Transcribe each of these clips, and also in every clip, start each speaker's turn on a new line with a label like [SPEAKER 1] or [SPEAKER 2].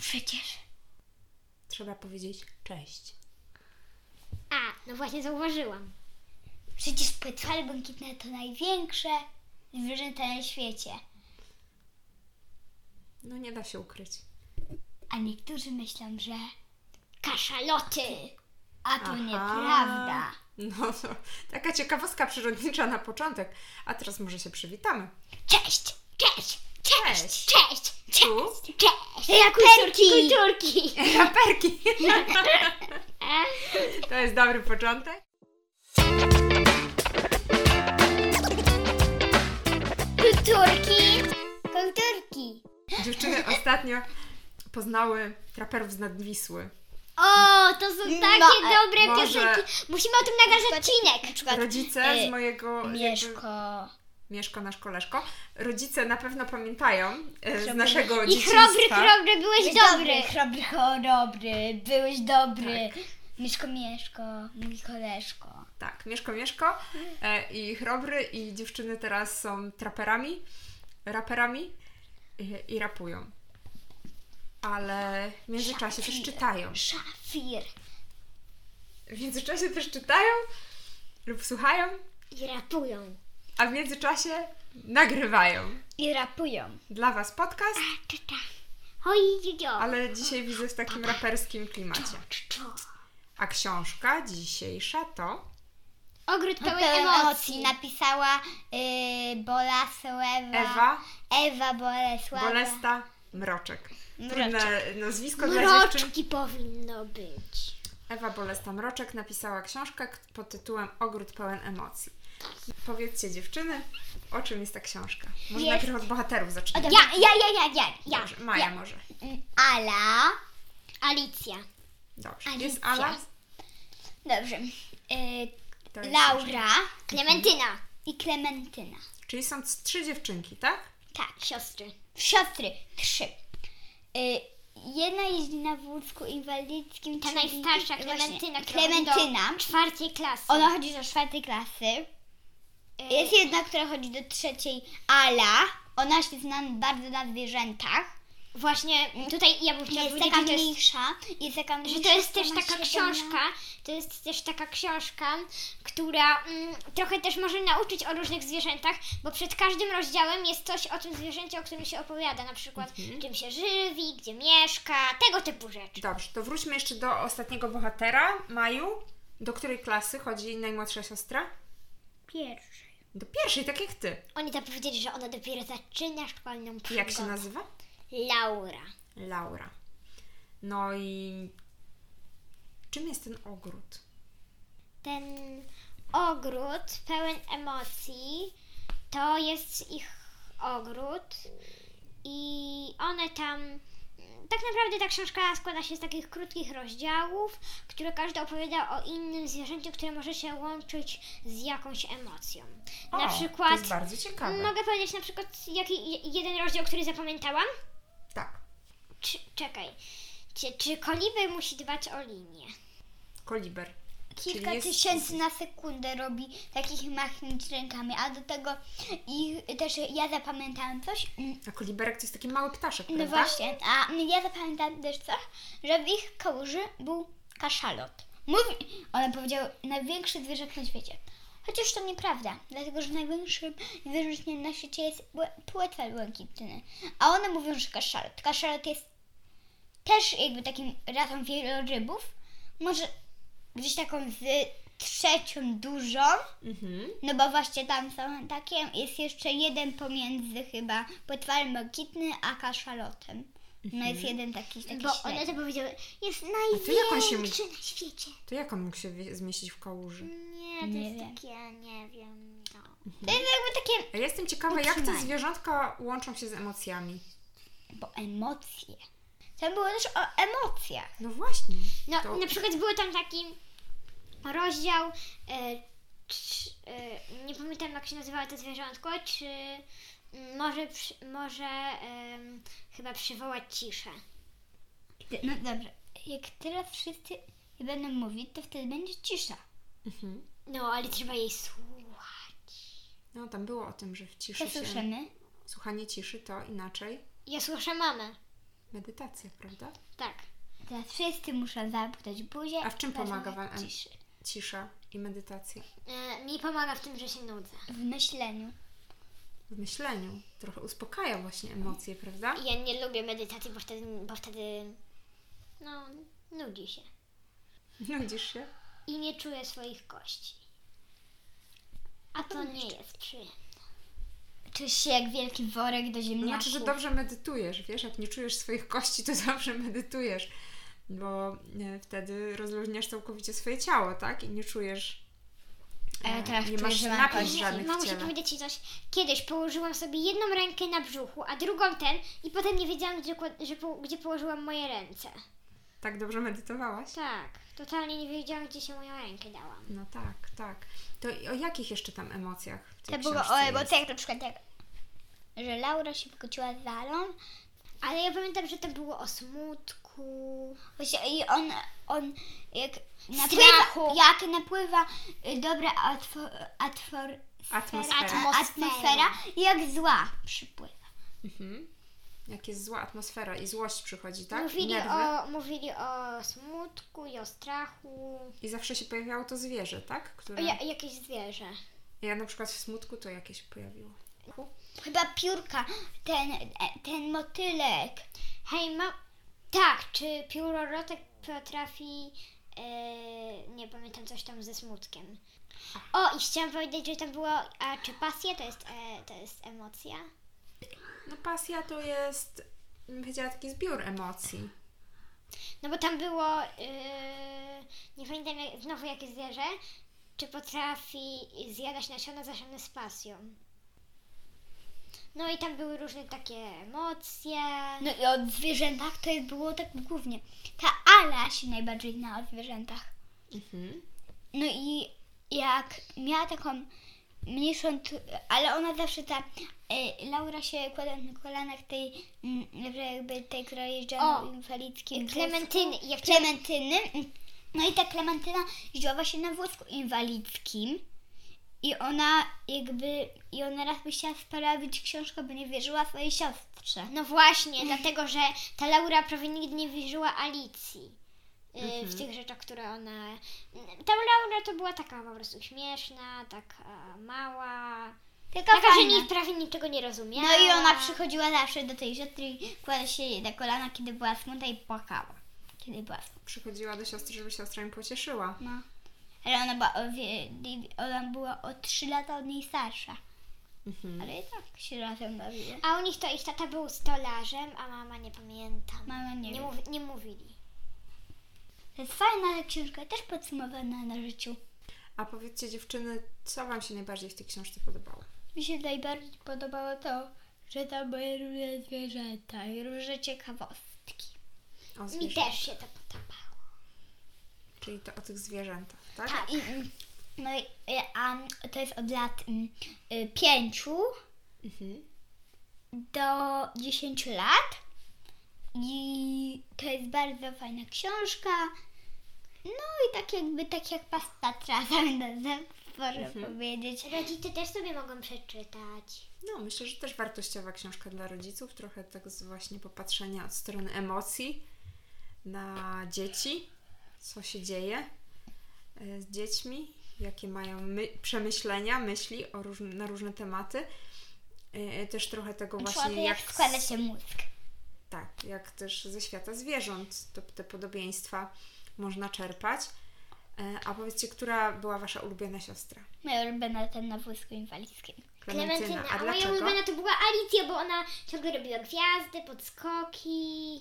[SPEAKER 1] Przecież.
[SPEAKER 2] Trzeba powiedzieć cześć.
[SPEAKER 1] A, no właśnie zauważyłam. Przecież płetwale błękitne to największe zwierzęta na świecie.
[SPEAKER 2] No nie da się ukryć.
[SPEAKER 1] A niektórzy myślą, że kaszaloty. A to
[SPEAKER 2] Aha.
[SPEAKER 1] nieprawda.
[SPEAKER 2] No, to taka ciekawostka przyrodnicza na początek. A teraz może się przywitamy.
[SPEAKER 1] Cześć! Cześć!
[SPEAKER 2] Cześć.
[SPEAKER 1] Cześć! Cześć! Cześć!
[SPEAKER 2] Tu
[SPEAKER 1] Cześć! Kulturki! Kulturki!
[SPEAKER 2] raperki. To jest dobry początek.
[SPEAKER 1] Kulturki! Kulturki!
[SPEAKER 2] Dziewczyny ostatnio poznały raperów z Nadwisły.
[SPEAKER 1] O, to są takie
[SPEAKER 3] e,
[SPEAKER 1] dobre
[SPEAKER 2] może-
[SPEAKER 1] piosenki. Musimy o tym nagrać odcinek. Na przykład
[SPEAKER 3] E,
[SPEAKER 2] Rodzice z mojego... jakby-
[SPEAKER 1] Mieszko.
[SPEAKER 2] Mieszko, nasz koleżko. Rodzice na pewno pamiętają e, z
[SPEAKER 3] Chrobry.
[SPEAKER 2] naszego
[SPEAKER 1] I chrobry,
[SPEAKER 2] dzieciństwa.
[SPEAKER 1] chrobry, byłeś dobry.
[SPEAKER 3] Chrobry, chrobry, byłeś dobry. Mieszko, Mieszko, mój koleżko.
[SPEAKER 2] Tak, Mieszko Mieszko e, i Chrobry i dziewczyny teraz są traperami, raperami e, i, i rapują. Ale w międzyczasie też czytają.
[SPEAKER 1] Szafir.
[SPEAKER 2] W międzyczasie też czytają lub słuchają,
[SPEAKER 1] I rapują.
[SPEAKER 2] a w międzyczasie nagrywają.
[SPEAKER 3] I rapują.
[SPEAKER 2] Dla Was podcast,
[SPEAKER 1] Czyta. Oj, jo.
[SPEAKER 2] ale dzisiaj widzę w takim raperskim klimacie. A książka dzisiejsza to...
[SPEAKER 1] Ogród pełen
[SPEAKER 3] Pełen
[SPEAKER 1] emocji.
[SPEAKER 3] No emocji napisała y, Bolesława.
[SPEAKER 2] Ewa
[SPEAKER 3] Ewa Bolesława.
[SPEAKER 2] Bolesta Mroczek. Trudne nazwisko dla dziewczyn.
[SPEAKER 1] Mroczki powinno być.
[SPEAKER 2] Ewa Bolesta Mroczek napisała książkę k- pod tytułem Ogród pełen emocji. Powiedzcie dziewczyny, o czym jest ta książka? Może
[SPEAKER 3] Jest-
[SPEAKER 2] najpierw od bohaterów
[SPEAKER 3] Ja,
[SPEAKER 2] zacznijmy.
[SPEAKER 3] ja, ja, ja, ja, ja.
[SPEAKER 2] Dobrze, Maja może.
[SPEAKER 3] Mm, Ala.
[SPEAKER 1] Alicja.
[SPEAKER 2] Dobrze.
[SPEAKER 3] Alicja.
[SPEAKER 2] Jest Ala,
[SPEAKER 3] Dobrze. Y,
[SPEAKER 2] to jest Sasza.
[SPEAKER 3] Laura
[SPEAKER 1] Klementyna.
[SPEAKER 3] i Klementyna.
[SPEAKER 2] Czyli są c- trzy dziewczynki, tak?
[SPEAKER 1] Tak, siostry.
[SPEAKER 3] Siostry. Trzy. Y, jedna jeździ na wózku inwalidzkim.
[SPEAKER 1] Ta
[SPEAKER 3] czyli-
[SPEAKER 1] najstarsza
[SPEAKER 3] właśnie,
[SPEAKER 1] Klementyna, która
[SPEAKER 3] Klementyna.
[SPEAKER 1] do czwartej klasy.
[SPEAKER 3] Ona chodzi do czwartej klasy.
[SPEAKER 1] Y,
[SPEAKER 3] Jest jedna, która chodzi do trzeciej, Ala. Ona się zna bardzo na zwierzętach.
[SPEAKER 1] Właśnie tutaj ja bym chciała
[SPEAKER 3] Jest
[SPEAKER 1] powiedzieć,
[SPEAKER 3] taka
[SPEAKER 1] że to jest
[SPEAKER 3] mniejsza. Jest taka mniejsza.
[SPEAKER 1] że to jest też
[SPEAKER 3] ona
[SPEAKER 1] taka
[SPEAKER 3] się zna-
[SPEAKER 1] książka, to jest też taka książka, która mm, trochę też może nauczyć o różnych zwierzętach, bo przed każdym rozdziałem jest coś o tym zwierzęciu, o którym się opowiada, na przykład
[SPEAKER 3] Mhm.
[SPEAKER 1] czym się żywi, gdzie mieszka, tego typu rzeczy.
[SPEAKER 2] Dobrze, to wróćmy jeszcze do ostatniego bohatera, Maju. Do której klasy chodzi najmłodsza siostra?
[SPEAKER 1] Pierwszy.
[SPEAKER 2] Do pierwszej, tak jak ty.
[SPEAKER 1] Oni tam powiedzieli, że ona dopiero zaczyna szkolną przygodę.
[SPEAKER 2] Jak się nazywa?
[SPEAKER 1] Laura.
[SPEAKER 2] Laura. No i czym jest ten ogród?
[SPEAKER 1] Ten ogród pełen emocji, to jest ich ogród i one tam. Tak naprawdę ta książka składa się z takich krótkich rozdziałów, które każdy opowiada o innym zwierzęciu, które może się łączyć z jakąś emocją. na
[SPEAKER 2] O,
[SPEAKER 1] przykład.
[SPEAKER 2] To jest bardzo ciekawe.
[SPEAKER 1] Mogę powiedzieć na przykład jaki je- jeden rozdział, który zapamiętałam?
[SPEAKER 2] Tak.
[SPEAKER 1] Czy, czekaj. Czy, czy koliber musi dbać o linię?
[SPEAKER 2] Koliber.
[SPEAKER 3] Kilka
[SPEAKER 2] Czyli jest-
[SPEAKER 3] tysięcy na sekundę robi takich machnięć rękami, a do tego ich też ja zapamiętałam coś. mm,
[SPEAKER 2] A koliberek to jest taki mały ptaszek,
[SPEAKER 3] No
[SPEAKER 2] prawda?
[SPEAKER 3] właśnie, a ja zapamiętałam też coś, że w ich kałuży był kaszalot. Mówi, one powiedziały, największy zwierzak na świecie. Chociaż to nieprawda, dlatego że największym zwierzęciem na świecie jest błę- płetwal błękitny. A one mówią, że kaszalot. Kaszalot jest też jakby takim rasą wielorybów. Może gdzieś taką z trzecią dużą,
[SPEAKER 2] Mhm.
[SPEAKER 3] no bo właśnie tam są takie. Jest jeszcze jeden pomiędzy chyba płetwalem błękitny a kaszalotem. No jest
[SPEAKER 2] Mhm.
[SPEAKER 3] jeden taki, taki
[SPEAKER 1] Bo
[SPEAKER 3] średni.
[SPEAKER 1] one to powiedziały, jest
[SPEAKER 2] to jak on się-
[SPEAKER 1] największy na świecie.
[SPEAKER 2] To jak on mógł się wie- zmieścić w kałuży?
[SPEAKER 3] Mm.
[SPEAKER 1] Nie, to
[SPEAKER 3] Nie
[SPEAKER 1] jest
[SPEAKER 3] wiem.
[SPEAKER 1] takie, nie wiem. No.
[SPEAKER 3] To jest jakby takie,
[SPEAKER 2] Ja jestem ciekawa, jak te
[SPEAKER 3] Utrzymanie.
[SPEAKER 2] zwierzątka łączą się z emocjami.
[SPEAKER 3] bo emocje. Tam było też o emocjach.
[SPEAKER 2] No właśnie.
[SPEAKER 1] No,
[SPEAKER 2] to...
[SPEAKER 1] na przykład był tam taki rozdział, e, czy, e, nie pamiętam jak się nazywało to zwierzątko, czy mm, może, przy, może em, chyba przywołać ciszę.
[SPEAKER 3] No dobrze, jak teraz wszyscy będą mówić, to wtedy będzie cisza.
[SPEAKER 2] Mhm.
[SPEAKER 1] No, ale trzeba jej słuchać.
[SPEAKER 2] No, tam było o tym, że w ciszy
[SPEAKER 3] Co
[SPEAKER 2] się...
[SPEAKER 3] słyszymy?
[SPEAKER 2] Słuchanie ciszy to inaczej.
[SPEAKER 1] Ja słyszę mamę.
[SPEAKER 2] Medytacja, prawda?
[SPEAKER 1] Tak.
[SPEAKER 3] Teraz wszyscy muszą zamknąć buzię.
[SPEAKER 2] A w czym
[SPEAKER 3] i zacząć
[SPEAKER 2] pomaga wam-
[SPEAKER 3] ciszy.
[SPEAKER 2] Cisza i medytacja.
[SPEAKER 1] E, mi pomaga w tym, że się nudzę.
[SPEAKER 3] W myśleniu.
[SPEAKER 2] W myśleniu. Trochę uspokaja właśnie emocje, prawda?
[SPEAKER 1] I Ja nie lubię medytacji, bo wtedy, bo wtedy no, nudzi się.
[SPEAKER 2] Nudzisz No, się?
[SPEAKER 1] I nie czuję swoich kości. A to nie jest przyjemne.
[SPEAKER 3] Czujesz się jak wielki worek do
[SPEAKER 2] To
[SPEAKER 3] ziemniaków.
[SPEAKER 2] znaczy, że dobrze medytujesz, wiesz? Jak nie czujesz swoich kości, to dobrze medytujesz. Bo e, wtedy rozluźniasz całkowicie swoje ciało, tak? I nie czujesz...
[SPEAKER 3] Ale
[SPEAKER 2] e,
[SPEAKER 3] teraz
[SPEAKER 2] nie
[SPEAKER 3] czuję,
[SPEAKER 2] masz
[SPEAKER 3] że mam
[SPEAKER 2] napięć
[SPEAKER 3] kości.
[SPEAKER 2] żadnych w
[SPEAKER 1] Mamusiu,
[SPEAKER 2] ciele.
[SPEAKER 1] powiedzieć Ci coś. Kiedyś położyłam sobie jedną rękę na brzuchu, a drugą ten i potem nie wiedziałam, gdzie, kład- że po, gdzie położyłam moje ręce.
[SPEAKER 2] Tak dobrze medytowałaś?
[SPEAKER 1] Tak, totalnie nie wiedziałam, gdzie się moją rękę dałam.
[SPEAKER 2] No tak, tak. To i o jakich jeszcze tam emocjach w tej
[SPEAKER 3] To było
[SPEAKER 2] książce
[SPEAKER 3] Tak, o
[SPEAKER 2] jest?
[SPEAKER 3] emocjach na przykład jak, że Laura się pokłóciła z Alą
[SPEAKER 1] Ale ja pamiętam, że to było o smutku.
[SPEAKER 3] właśnie i on, on jak,
[SPEAKER 1] strachu.
[SPEAKER 3] napływa, jak napływa y, dobra atwo, atfor,
[SPEAKER 2] Atmosfera.
[SPEAKER 1] Atmosfera.
[SPEAKER 3] atmosfera i jak zła przypływa.
[SPEAKER 2] Mhm. Jak jest zła atmosfera i złość przychodzi, tak? I
[SPEAKER 1] Mówili,
[SPEAKER 2] nerwy.
[SPEAKER 1] o, mówili o smutku i o strachu.
[SPEAKER 2] I zawsze się pojawiało to zwierzę, tak?
[SPEAKER 1] O
[SPEAKER 2] Które...
[SPEAKER 1] ja,
[SPEAKER 2] Ja...
[SPEAKER 1] jakieś zwierzę.
[SPEAKER 2] na przykład w smutku to jakieś pojawiło.
[SPEAKER 3] Chyba piórka, ten, e, ten motylek.
[SPEAKER 1] Hej, ma... Tak, czy piórorotek potrafi... e, nie pamiętam, coś tam ze smutkiem. O, i chciałam powiedzieć, że tam było... A czy pasja to jest, e, to jest emocja?
[SPEAKER 2] No pasja to jest, bym powiedziała, taki zbiór emocji.
[SPEAKER 1] No bo tam było... e, nie pamiętam jak, znowu jakie zwierzę. Czy potrafi zjadać nasiona zasiane z pasją? No i tam były różne takie emocje.
[SPEAKER 3] No i o zwierzętach to było tak głównie. Ta Ala się najbardziej zna o zwierzętach.
[SPEAKER 2] Mhm.
[SPEAKER 3] No i jak miała taką mniejszą, tu- ale ona zawsze ta, e, Laura się kładła na kolanach tej, mm, że jakby tej, która jeździła
[SPEAKER 1] O,
[SPEAKER 3] na inwalidzkim
[SPEAKER 1] Klementyny.
[SPEAKER 3] wózku.
[SPEAKER 1] Ja wczoraj-
[SPEAKER 3] Klementyny. No i ta Klementyna jeździła właśnie na wózku inwalidzkim. I ona jakby, i ona raz by chciała sparawić książkę, bo nie wierzyła swojej siostrze.
[SPEAKER 1] No właśnie, dlatego że ta Laura prawie nigdy nie wierzyła Alicji y,
[SPEAKER 3] Mhm.
[SPEAKER 1] w tych rzeczach, które ona. y, Ta Laura to była taka po prostu śmieszna, taka mała.
[SPEAKER 3] Taka,
[SPEAKER 1] Taka, że
[SPEAKER 3] fajna.
[SPEAKER 1] nie, prawie niczego nie rozumiała.
[SPEAKER 3] No i ona przychodziła zawsze do tej siostry i kładła się jej na kolana, kiedy była smutna i płakała. Kiedy była smutna.
[SPEAKER 2] Przychodziła do siostry, żeby siostra mi pocieszyła.
[SPEAKER 3] No. Ale ona była, o, wie- ona była o 3 lata od niej starsza.
[SPEAKER 2] Mhm.
[SPEAKER 3] Ale i tak się razem bawiły.
[SPEAKER 1] A u nich to ich tata był stolarzem, a mama nie pamiętam.
[SPEAKER 3] Mama nie,
[SPEAKER 1] Nie,
[SPEAKER 3] wie.
[SPEAKER 1] mówi, nie mówili.
[SPEAKER 3] To jest fajna ta książka, też podsumowana na życiu.
[SPEAKER 2] A powiedzcie dziewczyny, co Wam się najbardziej w tej książce podobało?
[SPEAKER 3] Mi się najbardziej podobało to, że tam były różne zwierzęta i różne ciekawostki.
[SPEAKER 2] O
[SPEAKER 1] Mi
[SPEAKER 2] zwierzętach.
[SPEAKER 1] też się to podobało.
[SPEAKER 2] Czyli to o tych zwierzętach, tak?
[SPEAKER 3] Tak. I, mm, no i y, a mm, to jest od lat mm, y, pięciu
[SPEAKER 2] Mhm.
[SPEAKER 3] do 10 lat. I to jest bardzo fajna książka. No i tak jakby tak jak pasta trawa, można
[SPEAKER 2] Mhm.
[SPEAKER 3] powiedzieć.
[SPEAKER 1] Rodzice też sobie mogą przeczytać.
[SPEAKER 2] No, myślę, że też wartościowa książka dla rodziców, trochę tak z właśnie popatrzenia od strony emocji na dzieci, co się dzieje e, z dziećmi, jakie mają my, przemyślenia, myśli o różn- na różne tematy. E, Też trochę tego
[SPEAKER 3] Człowiek
[SPEAKER 2] właśnie
[SPEAKER 3] jak
[SPEAKER 2] jak,
[SPEAKER 3] składa
[SPEAKER 2] z-
[SPEAKER 3] się mózg.
[SPEAKER 2] Tak, jak też ze świata zwierząt to, te podobieństwa można czerpać. E, A powiedzcie, która była Wasza ulubiona siostra?
[SPEAKER 3] Moja ulubiona ten No na wózku inwalidzkim.
[SPEAKER 1] Klementyna.
[SPEAKER 2] A
[SPEAKER 1] A moja
[SPEAKER 2] dlaczego?
[SPEAKER 1] ulubiona to była Alicja, bo ona ciągle robiła gwiazdy, podskoki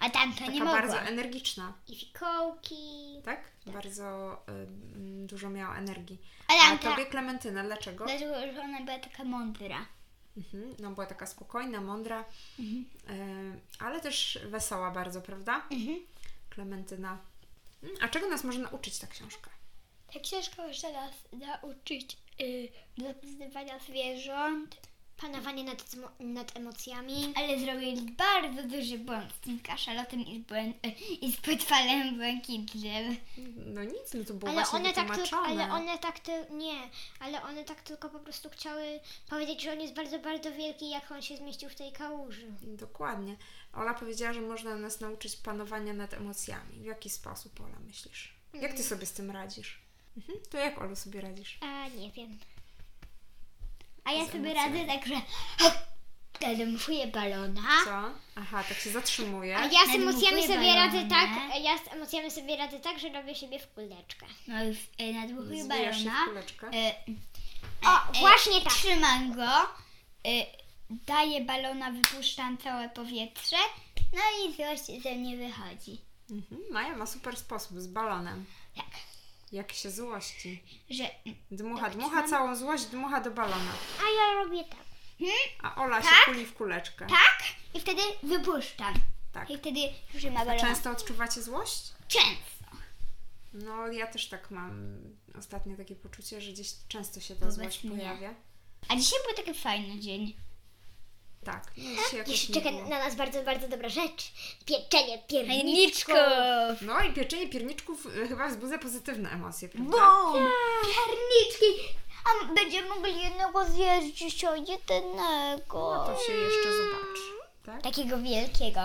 [SPEAKER 3] A tam to nie
[SPEAKER 2] Taka
[SPEAKER 3] mogła.
[SPEAKER 2] bardzo energiczna.
[SPEAKER 1] i fikołki.
[SPEAKER 2] Tak? Bardzo ym, dużo miała energii.
[SPEAKER 3] Ale
[SPEAKER 2] A
[SPEAKER 3] Anka-
[SPEAKER 2] tobie Klementyna, dlaczego?
[SPEAKER 3] Dlatego, że ona była taka mądra.
[SPEAKER 2] Mhm, no była taka spokojna, mądra,
[SPEAKER 1] Mhm.
[SPEAKER 2] y, ale też wesoła bardzo, prawda?
[SPEAKER 1] Mhm.
[SPEAKER 2] Klementyna. Mm, A czego nas może nauczyć ta książka?
[SPEAKER 3] Ta książka może nas nauczyć y, do poznawania zwierząt,
[SPEAKER 1] Panowanie nad, zmo- nad emocjami.
[SPEAKER 3] Ale zrobili bardzo duży błąd z tym kaszalotem i z, błęd- i z płetwalem błękitnym.
[SPEAKER 2] No nic, no to było
[SPEAKER 1] Ale
[SPEAKER 2] właśnie
[SPEAKER 1] one, tak tylko,
[SPEAKER 2] wytłumaczone.
[SPEAKER 1] ale one tak ty, nie, ale one tak tylko po prostu chciały powiedzieć, że on jest bardzo, bardzo wielki, jak on się zmieścił w tej kałuży.
[SPEAKER 2] Dokładnie. Ola powiedziała, że można nas nauczyć panowania nad emocjami. W jaki sposób, Ola, myślisz? Jak
[SPEAKER 3] Mm.
[SPEAKER 2] ty sobie z tym radzisz? Mhm. To jak, Olu, sobie radzisz?
[SPEAKER 1] A nie wiem.
[SPEAKER 3] A ja
[SPEAKER 2] Z
[SPEAKER 3] sobie radzę
[SPEAKER 2] emocjami.
[SPEAKER 3] tak, że nadmuchuję balona.
[SPEAKER 2] Co? Aha, tak się zatrzymuje.
[SPEAKER 1] A ja z emocjami
[SPEAKER 3] Nadmuchuję
[SPEAKER 1] sobie radzę
[SPEAKER 3] balony.
[SPEAKER 1] tak, ja z emocjami sobie radzę tak, że robię siebie w kuleczkę.
[SPEAKER 3] No i w- e, nadmuchuję
[SPEAKER 2] Zbijasz się w
[SPEAKER 3] balona.
[SPEAKER 2] kuleczkę.
[SPEAKER 3] E,
[SPEAKER 1] O,
[SPEAKER 3] e,
[SPEAKER 1] właśnie tak.
[SPEAKER 3] Trzymam go, e, daję balona, wypuszczam całe powietrze, no i złość ze mnie wychodzi.
[SPEAKER 2] Mhm. Maja ma super sposób z balonem.
[SPEAKER 3] Tak.
[SPEAKER 2] Jak się złości.
[SPEAKER 3] Że
[SPEAKER 2] Dmucha,
[SPEAKER 3] Tak,
[SPEAKER 2] dmucha
[SPEAKER 3] trzymam.
[SPEAKER 2] całą złość, dmucha do balona.
[SPEAKER 1] A ja robię tak.
[SPEAKER 2] A Ola się
[SPEAKER 3] Tak?
[SPEAKER 2] kuli w kuleczkę.
[SPEAKER 3] tak i wtedy wypuszczam.
[SPEAKER 2] Tak.
[SPEAKER 3] I wtedy trzyma
[SPEAKER 2] A
[SPEAKER 3] balona.
[SPEAKER 2] często odczuwacie złość?
[SPEAKER 3] Często.
[SPEAKER 2] No, ja też tak mam ostatnio takie poczucie, że gdzieś często się ta
[SPEAKER 3] Wobec
[SPEAKER 2] złość
[SPEAKER 3] mnie.
[SPEAKER 2] pojawia.
[SPEAKER 3] A dzisiaj był taki fajny dzień.
[SPEAKER 2] Tak, no dzisiaj jakoś
[SPEAKER 1] Jeszcze
[SPEAKER 2] nie
[SPEAKER 1] czeka
[SPEAKER 2] było.
[SPEAKER 1] na nas bardzo, bardzo dobra rzecz. Pieczenie pierniczków.
[SPEAKER 3] Pierniczków!
[SPEAKER 2] No i pieczenie pierniczków e, chyba wzbudza pozytywne emocje, prawda?
[SPEAKER 3] Bum! Pierniczki! A będziemy mogli jednego zjeść dzisiaj,
[SPEAKER 2] No
[SPEAKER 3] jednego.
[SPEAKER 2] to się jeszcze zobaczy. Tak?
[SPEAKER 3] Takiego wielkiego.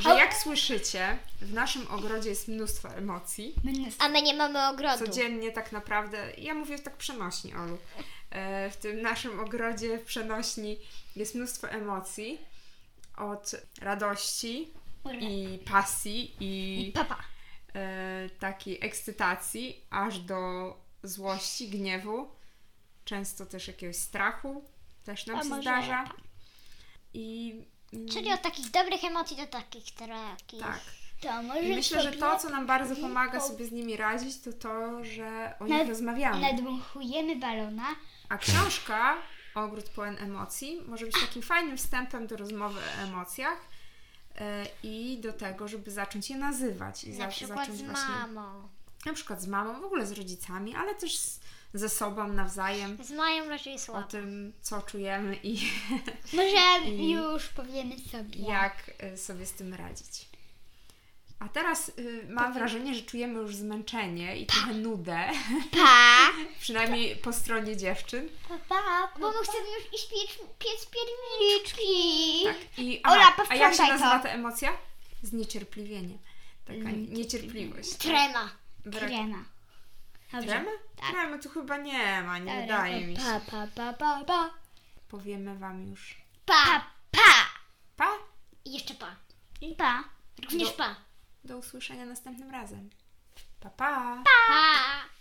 [SPEAKER 2] Że jak słyszycie, w naszym ogrodzie jest mnóstwo emocji.
[SPEAKER 1] A my nie mamy ogrodu.
[SPEAKER 2] Codziennie tak naprawdę, ja mówię tak przenośni, Olu. E, W tym naszym ogrodzie w przenośni jest mnóstwo emocji. Od radości i pasji i
[SPEAKER 3] Papa.
[SPEAKER 2] e, takiej ekscytacji, aż do złości, gniewu, często też jakiegoś strachu, też nam
[SPEAKER 3] A
[SPEAKER 2] się
[SPEAKER 3] może tak.
[SPEAKER 2] zdarza. I mm,
[SPEAKER 1] Czyli od takich dobrych emocji do takich takich.
[SPEAKER 2] tak.
[SPEAKER 3] To może
[SPEAKER 2] I myślę, że
[SPEAKER 3] sobie
[SPEAKER 2] to, co nam bardzo pomaga sobie z nimi radzić, to to, że o nich
[SPEAKER 3] Nad-
[SPEAKER 2] rozmawiamy.
[SPEAKER 3] nadmuchujemy balona.
[SPEAKER 2] A książka Ogród pełen emocji może być takim fajnym wstępem do rozmowy o emocjach e, i do tego, żeby zacząć je nazywać i
[SPEAKER 1] Na
[SPEAKER 2] za-
[SPEAKER 1] przykład
[SPEAKER 2] zacząć
[SPEAKER 1] z
[SPEAKER 2] właśnie
[SPEAKER 1] mamą.
[SPEAKER 2] na przykład z mamą, w ogóle z rodzicami, ale też z, ze sobą nawzajem
[SPEAKER 1] Z moją raczej
[SPEAKER 2] o
[SPEAKER 1] słabo.
[SPEAKER 2] tym, co czujemy i
[SPEAKER 3] Może już powiemy sobie.
[SPEAKER 2] jak y, sobie z tym radzić. A teraz y, mam
[SPEAKER 3] Tak.
[SPEAKER 2] wrażenie, że czujemy już zmęczenie i trochę nudę,
[SPEAKER 3] Pa!
[SPEAKER 2] tak? przynajmniej po stronie dziewczyn.
[SPEAKER 3] Pa, pa,
[SPEAKER 1] Bo my chcemy już iść piec, piec pierniczki.
[SPEAKER 2] Tak. I, a,
[SPEAKER 3] Ola,
[SPEAKER 2] a jak się
[SPEAKER 3] powtrącaj
[SPEAKER 2] nazywa
[SPEAKER 3] to. Mm.
[SPEAKER 2] ta emocja? Zniecierpliwienie. Taka niecierpliwość.
[SPEAKER 1] Trema.
[SPEAKER 2] Brak...
[SPEAKER 3] Krema. Dobrze. Tak.
[SPEAKER 2] Tremy? Tremy tu chyba nie ma, nie
[SPEAKER 3] Dobra,
[SPEAKER 2] wydaje
[SPEAKER 3] to
[SPEAKER 2] mi się.
[SPEAKER 3] Pa, pa, pa, pa, pa.
[SPEAKER 2] Powiemy Wam już.
[SPEAKER 1] Pa.
[SPEAKER 3] Pa, pa.
[SPEAKER 2] Pa!
[SPEAKER 1] I jeszcze pa.
[SPEAKER 3] Pa.
[SPEAKER 1] Również pa.
[SPEAKER 2] Do usłyszenia następnym razem. Pa, pa!
[SPEAKER 1] Pa.